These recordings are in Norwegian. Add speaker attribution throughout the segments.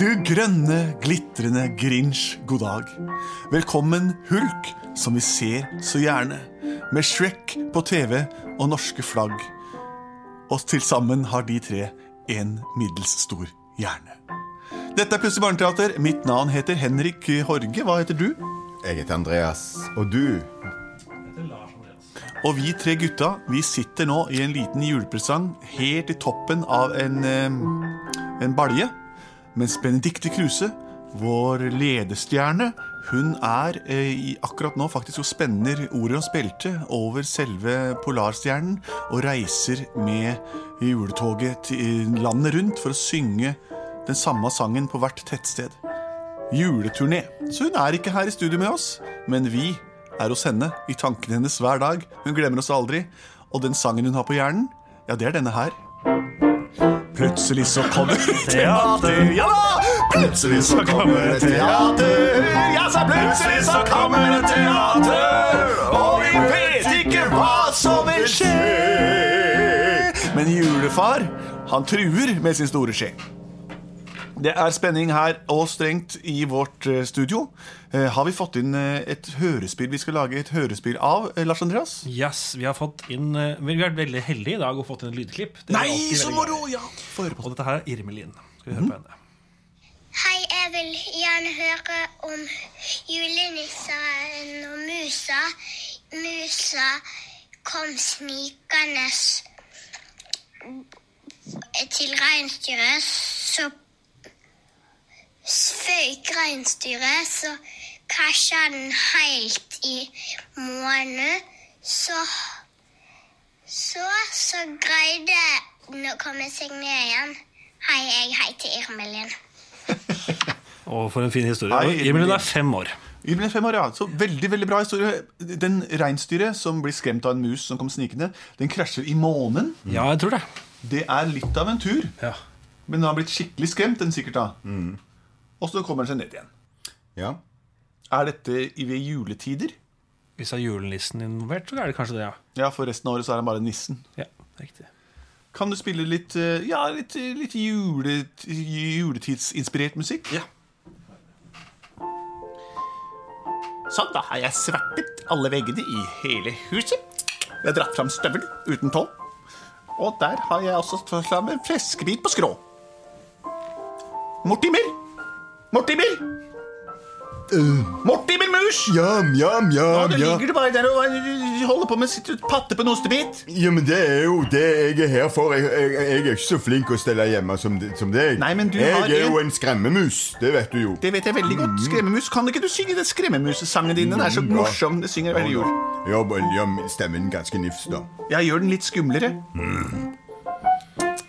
Speaker 1: Du grønne, glitrende Grinch, god dag. Velkommen Hulk, som vi ser så gjerne. Med Shrek på TV og norske flagg. Og til sammen har de tre en middels stor hjerne. Dette er Plutselig barneteater. Mitt navn heter Henrik Horge. Hva heter du?
Speaker 2: Jeg heter Andreas, og du
Speaker 1: Og vi tre gutta vi sitter nå i en liten julepresang helt i toppen av en, eh, en balje. Mens Benedicte Kruse, vår ledestjerne, hun er eh, i, akkurat nå faktisk og spenner Orions belte over selve Polarstjernen og reiser med juletoget til eh, landet rundt for å synge den samme sangen på hvert tettsted juleturné. Så hun er ikke her i studio med oss, men vi er hos henne i tankene hennes hver dag. Hun glemmer oss aldri. Og den sangen hun har på hjernen, ja, det er denne her. Plutselig så kommer teater, ja da! Plutselig så kommer teater, ja, så plutselig så kommer teater. Og vi vet ikke hva som vil skje. Men julefar, han truer med sin store skje. Det er spenning her og strengt i vårt eh, studio. Eh, Har vi fått inn eh, et hørespill vi skal lage et hørespill av, eh, Lars Andreas?
Speaker 3: Yes, vi har fått inn eh, Vi har vært veldig heldige i dag og fått inn et lydklipp. Det er
Speaker 1: Nei,
Speaker 3: alltid
Speaker 1: så
Speaker 3: veldig
Speaker 1: moro! Mhm.
Speaker 3: gøy.
Speaker 1: Ja, få høre på.
Speaker 3: Og dette her er Irmelin. Skal vi høre på henne?
Speaker 4: Hei, jeg vil gjerne høre om julenissen og musa. Musa kom snikende s- til reinsdyret, så føyk reinsdyret, så krasja den helt i månen. Så, så, så greide den å komme seg ned igjen. Hei, jeg heter Irmelin.
Speaker 3: Og for en fin historie.
Speaker 1: Hei,
Speaker 3: Irmelin.
Speaker 1: Irmelin.
Speaker 3: er fem år.
Speaker 1: Vi ble fem år, ja. Så veldig veldig bra historie. Den reinsdyret som blir skremt av en mus som kom snikende, den krasjer i månen.
Speaker 3: Ja, jeg tror det.
Speaker 1: Det er litt av en tur.
Speaker 3: Ja.
Speaker 1: Men den har blitt skikkelig skremt, den sikkert da. Og så kommer den seg ned igjen.
Speaker 2: Ja.
Speaker 1: Er dette i- ved juletider?
Speaker 3: Hvis det er julenissen involvert, så er det kanskje det, ja.
Speaker 1: Ja, for resten av året så er han bare nissen.
Speaker 3: ja riktig.
Speaker 1: Kan du spille litt, eh, ja, litt, eh, litt jule, juletidsinspirert musikk?
Speaker 3: Ja.
Speaker 1: Sånn, da har jeg svertet alle veggene i hele huset. Jeg har dratt fram støvelen uten tå. Og der har jeg også tatt fram en fleskebit på skrå. Mortimer! Mortimer! Mortimer Mus!
Speaker 2: Eh, Jam, jam,
Speaker 1: Nå
Speaker 2: jam, ja.
Speaker 1: ligger du bare der og eh, holder på med å sitte og patte på en ostebit.
Speaker 2: ja, men det er jo det jeg er her for. Jeg, jeg, jeg er ikke så flink å stelle hjemme som, de- som deg.
Speaker 1: Nei, men du
Speaker 2: jeg
Speaker 1: har
Speaker 2: er
Speaker 1: en-
Speaker 2: jo en skremmemus, det vet du jo.
Speaker 1: Det vet jeg veldig godt. Skremmemus. Kan ikke du synge den skremmemusesangen din? Den er så
Speaker 2: Mm, bra.
Speaker 1: morsom. Det synger hver jul.
Speaker 2: Ja, men ja, men stemmen ganske nifs, da.
Speaker 1: Jeg gjør den litt skumlere.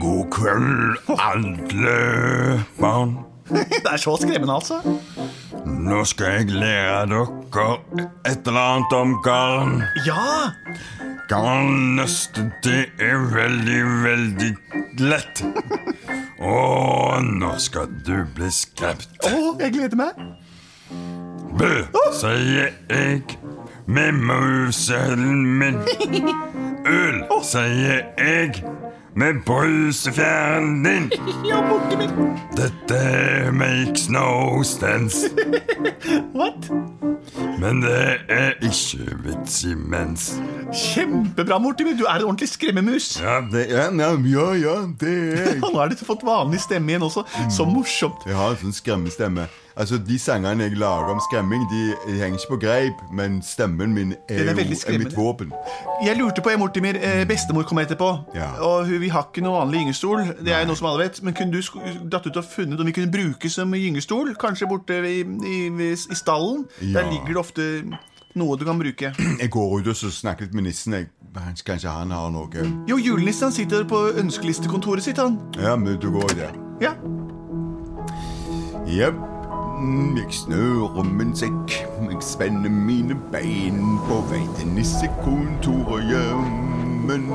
Speaker 2: God kveld, alle barn.
Speaker 1: Det er så skremmende, altså.
Speaker 2: Nå skal jeg lære dere et eller annet om garn.
Speaker 1: Ja!
Speaker 2: Garnnøste, det er veldig, veldig lett. Og nå skal du bli skremt.
Speaker 1: Å, jeg gleder meg.
Speaker 2: Bø, sier jeg med musehølen min. Øl, sier jeg med brusefjæren din.
Speaker 1: Ja, Mortimer.
Speaker 2: Dette makes no sense,
Speaker 1: What?
Speaker 2: men det er ikke vits imens.
Speaker 1: Kjempebra, Mortimer. Du er en ordentlig skremmemus.
Speaker 2: Ja, det er, ja, ja, ja, det er jeg.
Speaker 1: Han har litt fått vanlig stemme igjen også. Så
Speaker 2: Mm.
Speaker 1: morsomt.
Speaker 2: Jeg har en sånn skremmestemme. Altså, De sangene jeg lager om skremming, de, de henger ikke på greip, men stemmen min
Speaker 1: Den
Speaker 2: er,
Speaker 1: er veldig
Speaker 2: jo er
Speaker 1: skremmende.
Speaker 2: mitt våpen.
Speaker 1: Jeg lurte på, jeg, Mortimer. eh, Bestemor kom etterpå.
Speaker 2: Mm. Ja.
Speaker 1: Og hun- vi har ikke noe vanlig gyngestol. Det er noe som alle vet. Men kunne du sk- datt ut og funnet om vi kunne bruke som gyngestol? Kanskje borte i, i, i stallen? Der
Speaker 2: Ja.
Speaker 1: ligger det ofte noe du kan bruke.
Speaker 2: Jeg går ut og så snakker litt med nissen. Jeg, Hans- kanskje han har noe
Speaker 1: Jo, julenissen han sitter på ønskelistekontoret sitt, han.
Speaker 2: Ja, men du går der.
Speaker 1: Ja.
Speaker 2: Jepp. Mm, Jeg snører min sekk, jeg spenner mine bein på vei til nissekontoret hjemmen.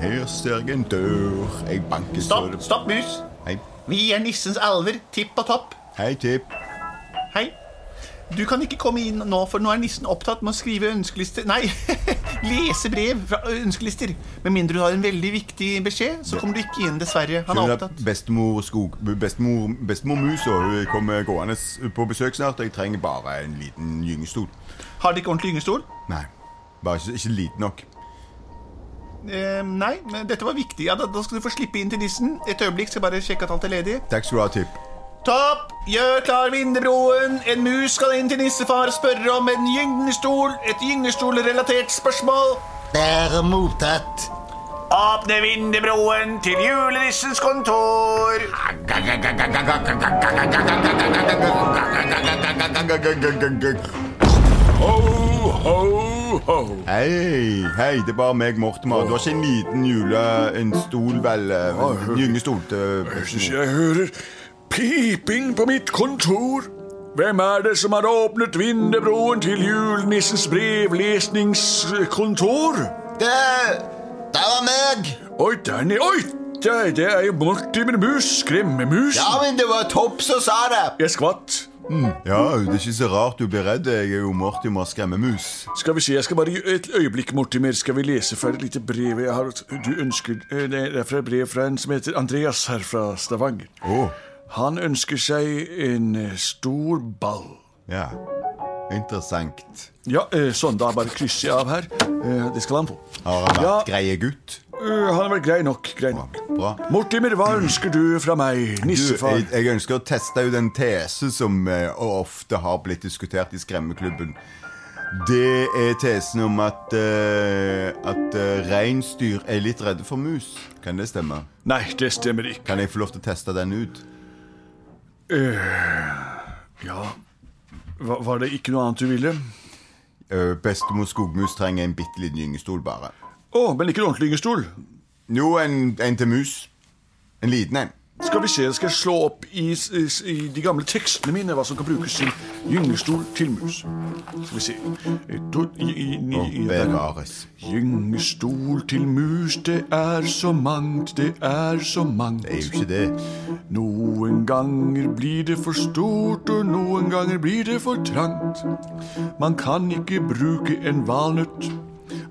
Speaker 2: Her ser jeg en dør, jeg banker så
Speaker 1: Stopp,
Speaker 2: det-
Speaker 1: stopp, mus.
Speaker 2: Hei,
Speaker 1: Vi er nissens alver. Tipp og topp.
Speaker 2: hei, Tipp.
Speaker 1: Hei. Du kan ikke komme inn nå, for nå er nissen opptatt med å skrive ønskelister Nei, lese brev fra ønskelister. Med mindre du har en veldig viktig beskjed, så kommer du ikke inn, dessverre. Han er
Speaker 2: Skjønner
Speaker 1: opptatt.
Speaker 2: at bestemor, skog, bestemor, bestemor Musa hun kommer gående på besøk snart. og Jeg trenger bare en liten gyngestol.
Speaker 1: Har de ikke ordentlig gyngestol?
Speaker 2: Nei, bare ikke, ikke liten nok.
Speaker 1: Eh, nei, men dette var viktig. Ja, da, da skal du få slippe inn til nissen. Et øyeblikk, skal jeg bare sjekke at alt er ledig.
Speaker 2: Takk skal du ha, Tipp.
Speaker 1: Topp! Gjør klar vindebroen. En mus skal inn til nissefar og spørre om en gyngestol. Et gyngestolrelatert spørsmål.
Speaker 5: Bare mottatt.
Speaker 1: Åpne vindebroen til julenissens kontor.
Speaker 6: Ho, ho, ho.
Speaker 2: Hei, hei, det er bare meg, Mortimer. Du har ikke en liten jule... En stol, vel? eh, En gyngestol til
Speaker 6: Jeg synes
Speaker 2: bestemor.
Speaker 6: jeg hører piping på mitt kontor. Hvem er det som har åpnet vindebroen til julenissens brevlesningskontor?
Speaker 5: Det Det var meg!
Speaker 6: Oi, der nede. Oi, det, det er jo Mortimer Mus. Skremmemus.
Speaker 5: Ja, men det var Topp som sa det!
Speaker 6: Jeg skvatt.
Speaker 2: Ja, det er ikke så rart du blir redd. Jeg er jo Mortimer Skremmemus.
Speaker 6: Skal vi se, jeg skal bare gi et øyeblikk, Mortimer. Skal vi lese fra et lite brev jeg har Du ønsker eh, Det er fra et brev fra en som heter Andreas her fra Stavanger.
Speaker 2: Å,
Speaker 6: Han ønsker seg en eh, stor ball.
Speaker 2: ja. Interessant.
Speaker 6: Ja, eh, sånn, da bare krysser jeg av her. Eh, Det skal han få.
Speaker 2: Har han
Speaker 6: Ja,
Speaker 2: vært greie gutt?
Speaker 6: eh, han har vært grei nok. Grei nok.
Speaker 2: Bra.
Speaker 6: Mortimer, hva ønsker du fra meg,
Speaker 2: Du, eh,
Speaker 6: nissefar?
Speaker 2: jeg, jeg ønsker å teste ut en tese som eh, ofte har blitt diskutert i Skremmeklubben. Det er tesen om at, eh, at eh, reinsdyr er litt redde for mus. Kan det stemme?
Speaker 6: Nei, det stemmer ikke.
Speaker 2: Kan jeg få lov til å teste den ut?
Speaker 6: Ja, hva, var det ikke noe annet du ville?
Speaker 2: Eh, Bestemor skogmus trenger en bitte liten gyngestol, bare.
Speaker 6: Å, men ikke en ordentlig gyngestol.
Speaker 2: Jo, en, en til mus. En liten en.
Speaker 6: Skal vi se, jeg skal slå opp i, s- i, s- i de gamle tekstene mine hva som kan brukes til gyngestol til mus. Skal vi se Et, to, i, i,
Speaker 2: Og
Speaker 6: i, i,
Speaker 2: Bevares.
Speaker 6: Gyngestol til mus, det er så mangt, det er så mangt.
Speaker 2: Det er jo ikke det.
Speaker 6: Noen ganger blir det for stort, og noen ganger blir det for trangt. Man kan ikke bruke en valnøtt.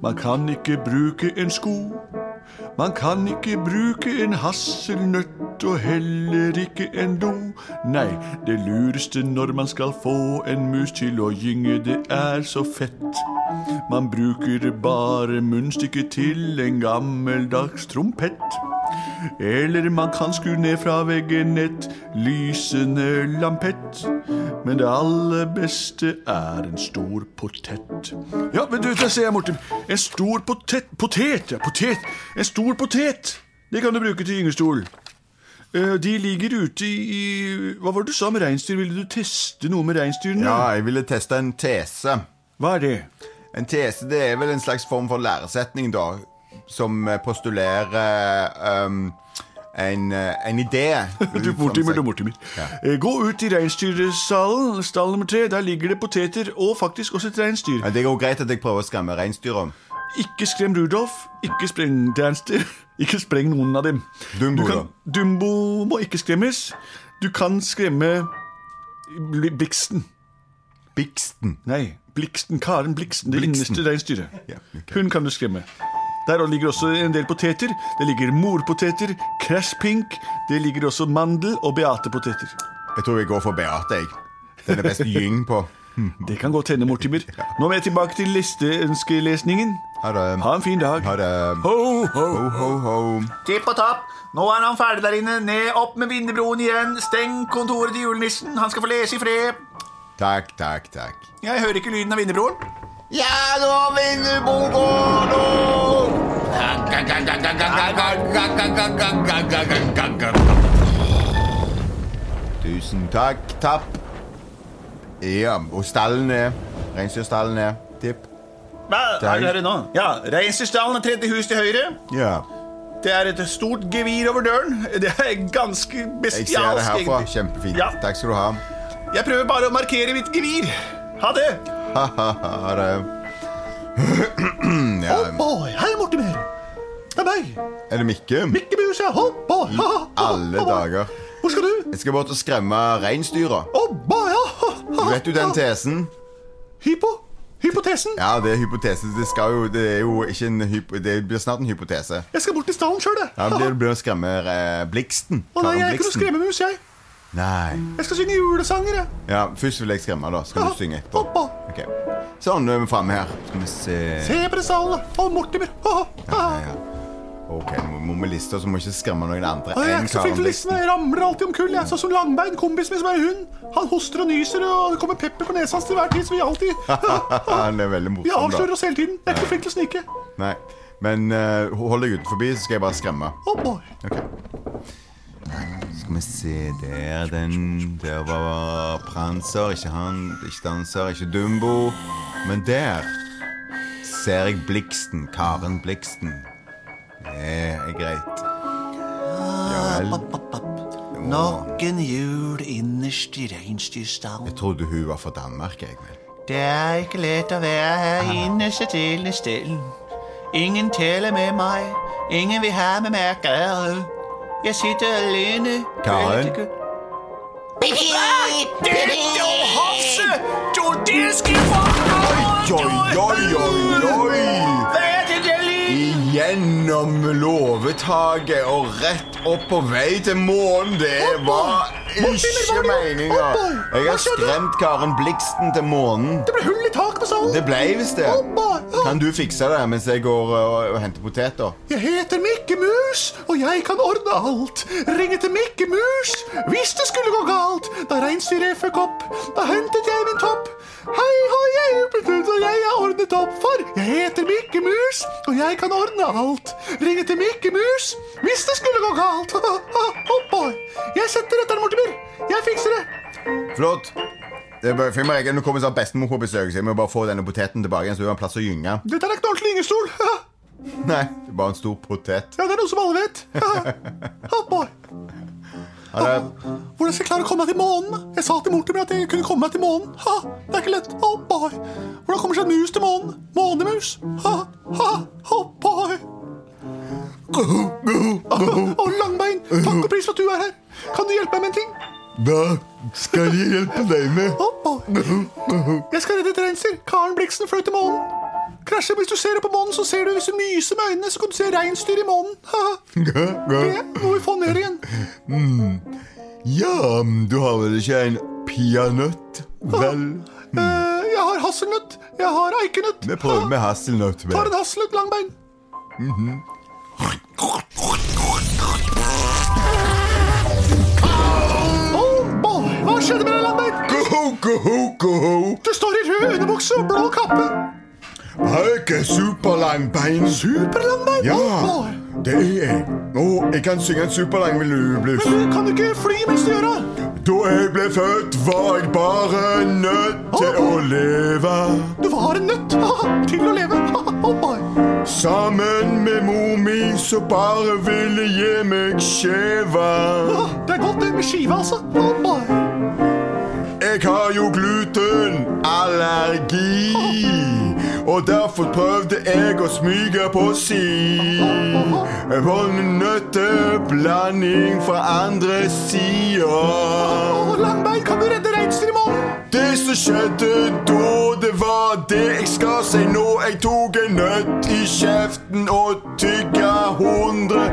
Speaker 6: Man kan ikke bruke en sko. Man kan ikke bruke en hasselnøtt og heller ikke en do. Nei, det lureste når man skal få en mus til å gynge, det er så fett. Man bruker bare munnstykket til en gammeldags trompett. Eller man kan skru ned fra veggen et lysende lampett. Men det aller beste er en stor potet. Ja, men du, der ser jeg, Morten. En stor potet Potet, ja. Potet. En stor potet. Det kan du bruke til gyngestol. Eh, De ligger ute i i- Hva var det du sa med reinsdyr? Ville du teste noe med reinsdyrene?
Speaker 2: Ja, jeg ville teste en tese.
Speaker 6: Hva er det?
Speaker 2: En tese det er vel en slags form for læresetning, da, som eh, postulerer ehm, en, eh, en idé.
Speaker 6: Du, Mortimer, du, Mortimer. Eh, Gå ut i reinsdyrsalen, stall nummer tre. Der ligger det poteter, og faktisk også et reinsdyr.
Speaker 2: Ja, det går greit at jeg prøver å skremme reinsdyra.
Speaker 6: Ikke skrem Rudolf, ikke spreng Danster, ikke spreng noen av dem.
Speaker 2: Dumbo,
Speaker 6: Du kan, Dumbo må ikke skremmes. Du kan skremme Bli- Bliksten.
Speaker 2: Biksten.
Speaker 6: Nei, Bliksten, Karen Bliksten, det
Speaker 2: Bliksten.
Speaker 6: innerste reinsdyret.
Speaker 2: Ja, ok.
Speaker 6: Hun kan du skremme. Der ligger også en del poteter. Det ligger morpoteter, Crash Pink, det ligger også mandel- og beatepoteter.
Speaker 2: Jeg tror jeg går for Beate, jeg. Den er best gyng på.
Speaker 6: Det kan godt hende, Mortimer. Nå må jeg tilbake til listeønskelesningen.
Speaker 2: Ha det.
Speaker 6: Ha en fin dag.
Speaker 2: Ha det.
Speaker 6: Ho, ho.
Speaker 2: Ho, ho, ho.
Speaker 1: Tipp og tapp. Nå er han ferdig der inne. Ned opp med vindebroen igjen. Steng kontoret til julenissen. Han skal få lese i fred.
Speaker 2: Takk, takk, takk.
Speaker 1: Jeg hører ikke lyden av vindebroen.
Speaker 5: Ja, nå vinner Bogo!
Speaker 2: Tusen takk, Tapp. Ja, og stallen er Reinsdyrstallen er Tipp.
Speaker 1: Hva
Speaker 2: Der.
Speaker 1: er det her nå? Ja, Reinsdyrstallen er tredje hus til høyre.
Speaker 2: Ja.
Speaker 1: Det er et stort gevir over døren. Det er ganske
Speaker 2: Jeg ser det
Speaker 1: bestialsk.
Speaker 2: herfra.
Speaker 1: egentlig.
Speaker 2: Kjempefint.
Speaker 1: Ja.
Speaker 2: Takk skal du ha.
Speaker 1: Jeg prøver bare å markere mitt gevir. Ha det.
Speaker 2: Ha det.
Speaker 1: Å,
Speaker 2: Ja,
Speaker 1: boy. hei, Mortimer. Det er meg.
Speaker 2: er det Mikke?
Speaker 1: Mikke Mus, ja. Å, boy. Ha, ha, ha,
Speaker 2: Alle
Speaker 1: ha, ha.
Speaker 2: dager.
Speaker 1: Hvor skal du?
Speaker 2: Jeg skal bort og skremme reinsdyra.
Speaker 1: Å, boy, ja. Ha,
Speaker 2: Vet du den tesen?
Speaker 6: Hypo. Hypotesen.
Speaker 2: Ja, det er hypotese. Det, skal jo, det er jo ikke en hypo, Det blir snart en hypotese.
Speaker 6: Jeg skal bort til stallen sjøl, jeg.
Speaker 2: Ja, det blir- det blir å skremme eh, Bliksten.
Speaker 6: Å nei,
Speaker 2: Karen
Speaker 6: jeg er ikke noe
Speaker 2: Blixen.
Speaker 6: skremmemus, jeg.
Speaker 2: Nei.
Speaker 6: Jeg skal synge julesanger, jeg.
Speaker 2: Ja, først vil jeg skremme, da. Skal
Speaker 6: Ja,
Speaker 2: du synge etterpå?
Speaker 6: hoppa.
Speaker 2: Ok. Sånn, nå er vi framme her. Skal vi se
Speaker 6: Se på det stallen. Og Mortimer. Ha, ha, ha.
Speaker 2: Ja, ja. Ok, nå må vi liste, så må vi ikke skremme noen andre
Speaker 6: Nei, Jeg er
Speaker 2: enn
Speaker 6: ikke så flink
Speaker 2: Karen
Speaker 6: til å liste,
Speaker 2: Blixten.
Speaker 6: men jeg ramler alltid om kull. Jeg sånn som Langbein, kompisen min som er hund. Han hoster og nyser, og det kommer pepper på nesa hans til hver tid, så vi alltid
Speaker 2: Han er veldig
Speaker 6: Vi
Speaker 2: morsom,
Speaker 6: avslører
Speaker 2: sånn da.
Speaker 6: oss hele tiden. Jeg er ikke så flink til å snike.
Speaker 2: Nei. Men eh, hold deg utenfor, så skal jeg bare skremme.
Speaker 6: Oh boy.
Speaker 2: Ok. Skal vi se Der, den Der var Pranser. Ikke han, ikke Danser, ikke Dumbo. Men der ser jeg Bliksten. Karen Bliksten. Det er greit. Ja vel.
Speaker 1: Nok en jul innerst i reinsdyrstallen.
Speaker 2: Jeg trodde hun var fra Danmark. jeg vel.
Speaker 1: Det er ikke lett å være her inne så stille stille. Ingen taler med meg, ingen vil ha med meg å gjøre. Jeg sitter alene.
Speaker 2: Karen?
Speaker 1: Veldig gøy.
Speaker 2: Oi, oi, oi, oi! Gjennom låvetaket og rett opp på vei til månen. Det var ikke meninga. Jeg har skremt Karen Bliksten til månen.
Speaker 6: Det ble hull i taket på salen.
Speaker 2: Det ble visst det. Kan du fikse det mens jeg går eh, og, og henter poteter?
Speaker 6: Jeg heter Mikke Mus, og jeg kan ordne alt. Ringe til Mikke Mus hvis det skulle gå galt. Da reinsdyret føkk opp, da hentet jeg min topp. Hei, hoi, jeg er ubetydelig, og jeg har ordnet opp for. Jeg heter Mikke Mus, og jeg kan ordne alt. Ringe til Mikke Mus hvis det skulle gå galt. oh boy. Jeg setter etter den, Mortimer. Jeg fikser det.
Speaker 2: Flott. Det er bare- Finn meg ikke, Nå kommer snart bestemor på besøk, så jeg må bare få denne poteten tilbake. igjen, Så hun har en plass å gynge.
Speaker 6: Dette er ikke noe ordentlig gyngestol. ja,
Speaker 2: Nei, det er bare en stor potet.
Speaker 6: det er noe som alle vet. oh boy.
Speaker 2: Ha det.
Speaker 6: Hvordan skal jeg klare å komme meg til månen? Jeg sa til Mortimer at jeg kunne komme meg til månen. Ha, det er ikke lett. Oh boy. Hvordan kommer seg en mus til månen? Månemus. Ha, ha, oh boy. Å, Langbein, takk og pris for at du er her. Kan du hjelpe meg med en ting?
Speaker 2: Hva skal jeg hjelpe deg med?
Speaker 6: Oh boy. Jeg skal redde et reinsdyr. Karen Bliksen fløy til månen. Krasjer hvis du ser opp på månen, så ser du hvis du myser med øynene, så kan du se reinsdyr i månen. Ha, ha. Det må vi få ned igjen.
Speaker 2: Ja, du har vel ikke en peanøtt? Vel,
Speaker 6: Eh, Jeg har hasselnøtt. Jeg har eikenøtt.
Speaker 2: vi prøver med hasselnøtt.
Speaker 6: Tar
Speaker 2: vel.
Speaker 6: en hasselnøtt langbein. Mm-hmm. Oh boy, Hva skjedde med deg, Langbein?
Speaker 2: Goho, goho, goho.
Speaker 6: Du står i rød underbukse og blå kappe.
Speaker 2: Har ikke superlang bein.
Speaker 6: Superlangbein.
Speaker 2: Ja,
Speaker 6: Oh boy.
Speaker 2: det er jeg. Å, jeg kan synge en superlang
Speaker 6: Men
Speaker 2: blues.
Speaker 6: du kan jo ikke fly mens du gjør det.
Speaker 2: Da jeg ble født, var jeg bare nødt til å leve.
Speaker 6: Du var en nøtt haha, til å leve. Oh boy.
Speaker 2: Sammen med mor mi, så bare ville gi meg skjeva.
Speaker 6: Ah, Det er godt det med skive, altså. Oh boy.
Speaker 2: Jeg har jo glutenallergi. Og derfor prøvde jeg å smyge på si. Vonnenøtteblanding fra andre
Speaker 6: Å,
Speaker 2: sida.
Speaker 6: Langbein, kan du redde reinsdyr i morgen?
Speaker 2: Det som skjedde da, det var det jeg skal si nå. Jeg tok en nøtt i kjeften og tygga hundre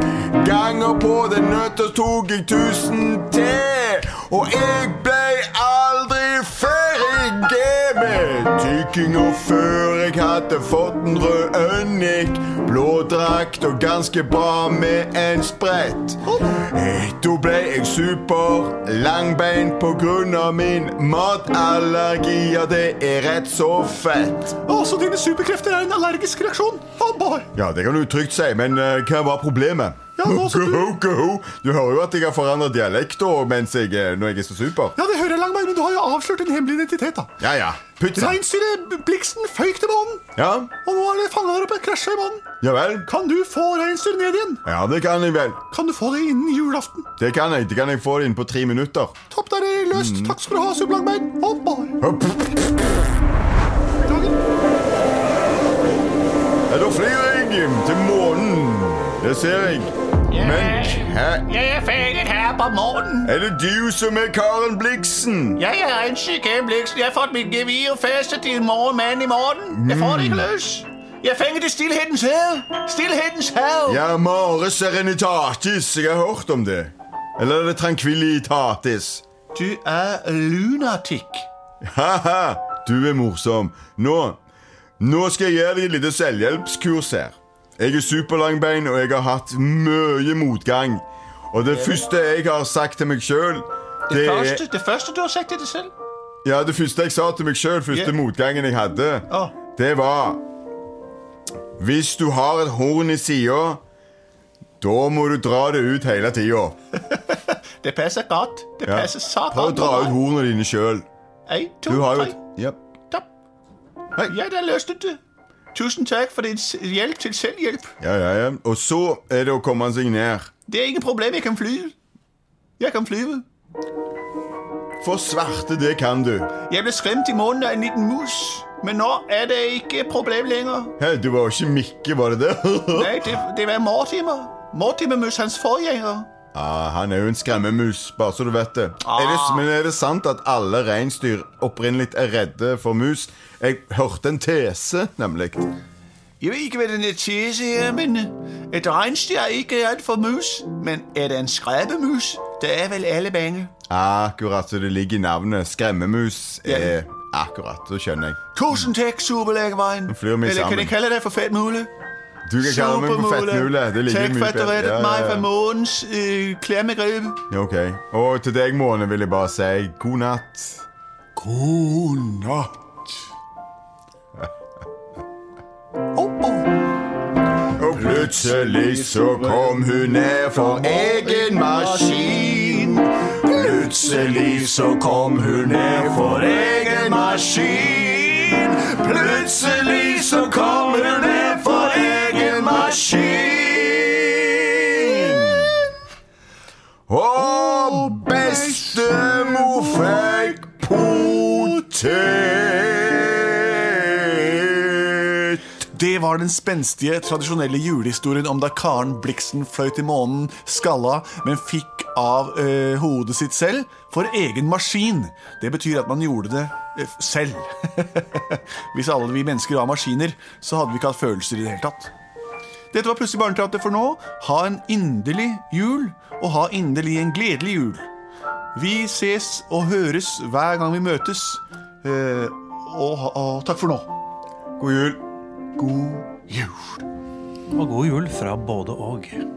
Speaker 2: ganger på den nøtta, tok jeg tusen til. Og jeg blei aldri ferdig med tygginga før jeg hadde fått en rød ønik, blå drakt og ganske bra med en sprett. Eh, Da ble jeg super langbein på grunn av min matallergi. Ja, det er rett så fett.
Speaker 6: Å, så dine superkrefter er en allergisk reaksjon. Oh boy.
Speaker 2: Ja, det kan du trygt si, men eh, hva var problemet?
Speaker 6: Ja, nå skal du-
Speaker 2: Goho, goho. Du hører jo at jeg har forandra dialekt da, mens jeg, eh, når jeg er så super.
Speaker 6: Ja, det hører jeg, Langbein, men du har jo avslørt din hemmelige identitet, da.
Speaker 2: Ja, ja. Pizza.
Speaker 6: Reinsdyret Bliksen føyk til månen,
Speaker 2: Ja,
Speaker 6: og nå er det fanga der oppe. Krasja i månen.
Speaker 2: ja vel.
Speaker 6: Kan du få reinsdyret ned igjen?
Speaker 2: Ja, det kan jeg vel.
Speaker 6: Kan du få det innen julaften?
Speaker 2: Det kan jeg. Det kan jeg få det inn på tre minutter.
Speaker 6: Topp, der er det løst. Takk skal du ha, Sublangbein. Og bare
Speaker 2: Hopp.
Speaker 6: dagen.
Speaker 2: Ja, da flyr jeg til månen. Det ser jeg. Men hæ?
Speaker 7: Jeg er fanget her på morgenen.
Speaker 2: Er det du som er Karen Bliksen?
Speaker 7: Jeg er en sykehjembliksen. Jeg har fått mit gevir festet til en morgenmand i morgen. Jeg får det ikke løs. Jeg er fanget i stillhetens hav. Stillhetens hav.
Speaker 2: Jeg er Mare Serenitatis. Jeg har hørt om det. Eller er det Tranquillitatis?
Speaker 7: Du er lunatikk.
Speaker 2: Haha, du er morsom. Nå, nå skal jeg gi deg et lite selvhjelpskurs her. Jeg er superlangbein, og jeg har hatt mye motgang. Og det første jeg har sagt til meg sjøl,
Speaker 7: Det,
Speaker 2: det er
Speaker 7: første, det første du har sagt til deg selv.
Speaker 2: Ja, det første jeg sa til meg sjøl, første
Speaker 7: Ja.
Speaker 2: motgangen jeg hadde,
Speaker 7: Å.
Speaker 2: det var Hvis du har et horn i sida, da må du dra det ut hele tida.
Speaker 7: Det passer godt. Det
Speaker 2: Ja.
Speaker 7: passer så godt.
Speaker 2: Prøv å dra ut hornene dine sjøl.
Speaker 7: En, to,
Speaker 2: Du har jo
Speaker 7: tre.
Speaker 2: et ja.
Speaker 7: Topp.
Speaker 2: Hei.
Speaker 7: Ja, der løste du det. Tusen takk for din s- hjelp til selvhjelp.
Speaker 2: ja, ja, ja. Og så er det å komme seg ned.
Speaker 7: Det er ingen problem, jeg kan flyve. Jeg kan flyve.
Speaker 2: For svarte, det kan du.
Speaker 7: Jeg ble skremt i måneden av en liten mus, men nå er det ikke et problem lenger.
Speaker 2: Hei, du var jo ikke Mikke, var det det?
Speaker 7: Nei, det, det var Mortimer. Mortimer-mus, hans forgjenger.
Speaker 2: ah, han er jo en skremmemus, bare så du vet det. Er det. Men er det sant at alle reinsdyr opprinnelig er redde for mus? Jeg hørte en tese, nemlig.
Speaker 7: Jeg ved ikke, hvad den her tese er, men øh, et regnstyr er ikke alt for mus. Men er det en skræbemus? Der er vel alle bange.
Speaker 2: Akkurat så det ligger i navnet. Skremmemus
Speaker 7: Ja.
Speaker 2: er akkurat, så skjønner jeg.
Speaker 7: Tusind tak, Superlækkevejen.
Speaker 2: Nu flyver vi
Speaker 7: Eller kan
Speaker 2: sammen.
Speaker 7: jeg kalde dig for fat mule?
Speaker 2: Du kan kalle meg for fettmule. Det ligger
Speaker 7: Tak for
Speaker 2: mye
Speaker 7: at du reddet
Speaker 2: Ja,
Speaker 7: mig
Speaker 2: ja,
Speaker 7: fra
Speaker 2: ja.
Speaker 7: månens øh, klemmegrebe.
Speaker 2: Ja, Ok. Og til deg, Måne, vil jeg bare si god natt.
Speaker 1: God natt.
Speaker 2: Og plutselig så kom hun ned for egen maskin. Plutselig så kom hun ned for egen maskin. Plutselig så kom hun ned for egen maskin. Og bestemor fikk potet.
Speaker 1: Det var den spenstige, tradisjonelle julehistorien om da Karen Bliksen fløy til månen, skalla, men fikk av eh, hodet sitt selv for egen maskin. Det betyr at man gjorde det eh, selv. Hvis alle vi mennesker var maskiner, så hadde vi ikke hatt følelser i det hele tatt. Dette var Plutselig barneteater for nå. Ha en inderlig jul, og ha inderlig en gledelig jul. Vi ses og høres hver gang vi møtes. Eh, og, ha- og takk for nå.
Speaker 2: God jul.
Speaker 1: God jul.
Speaker 3: Og god jul fra både og.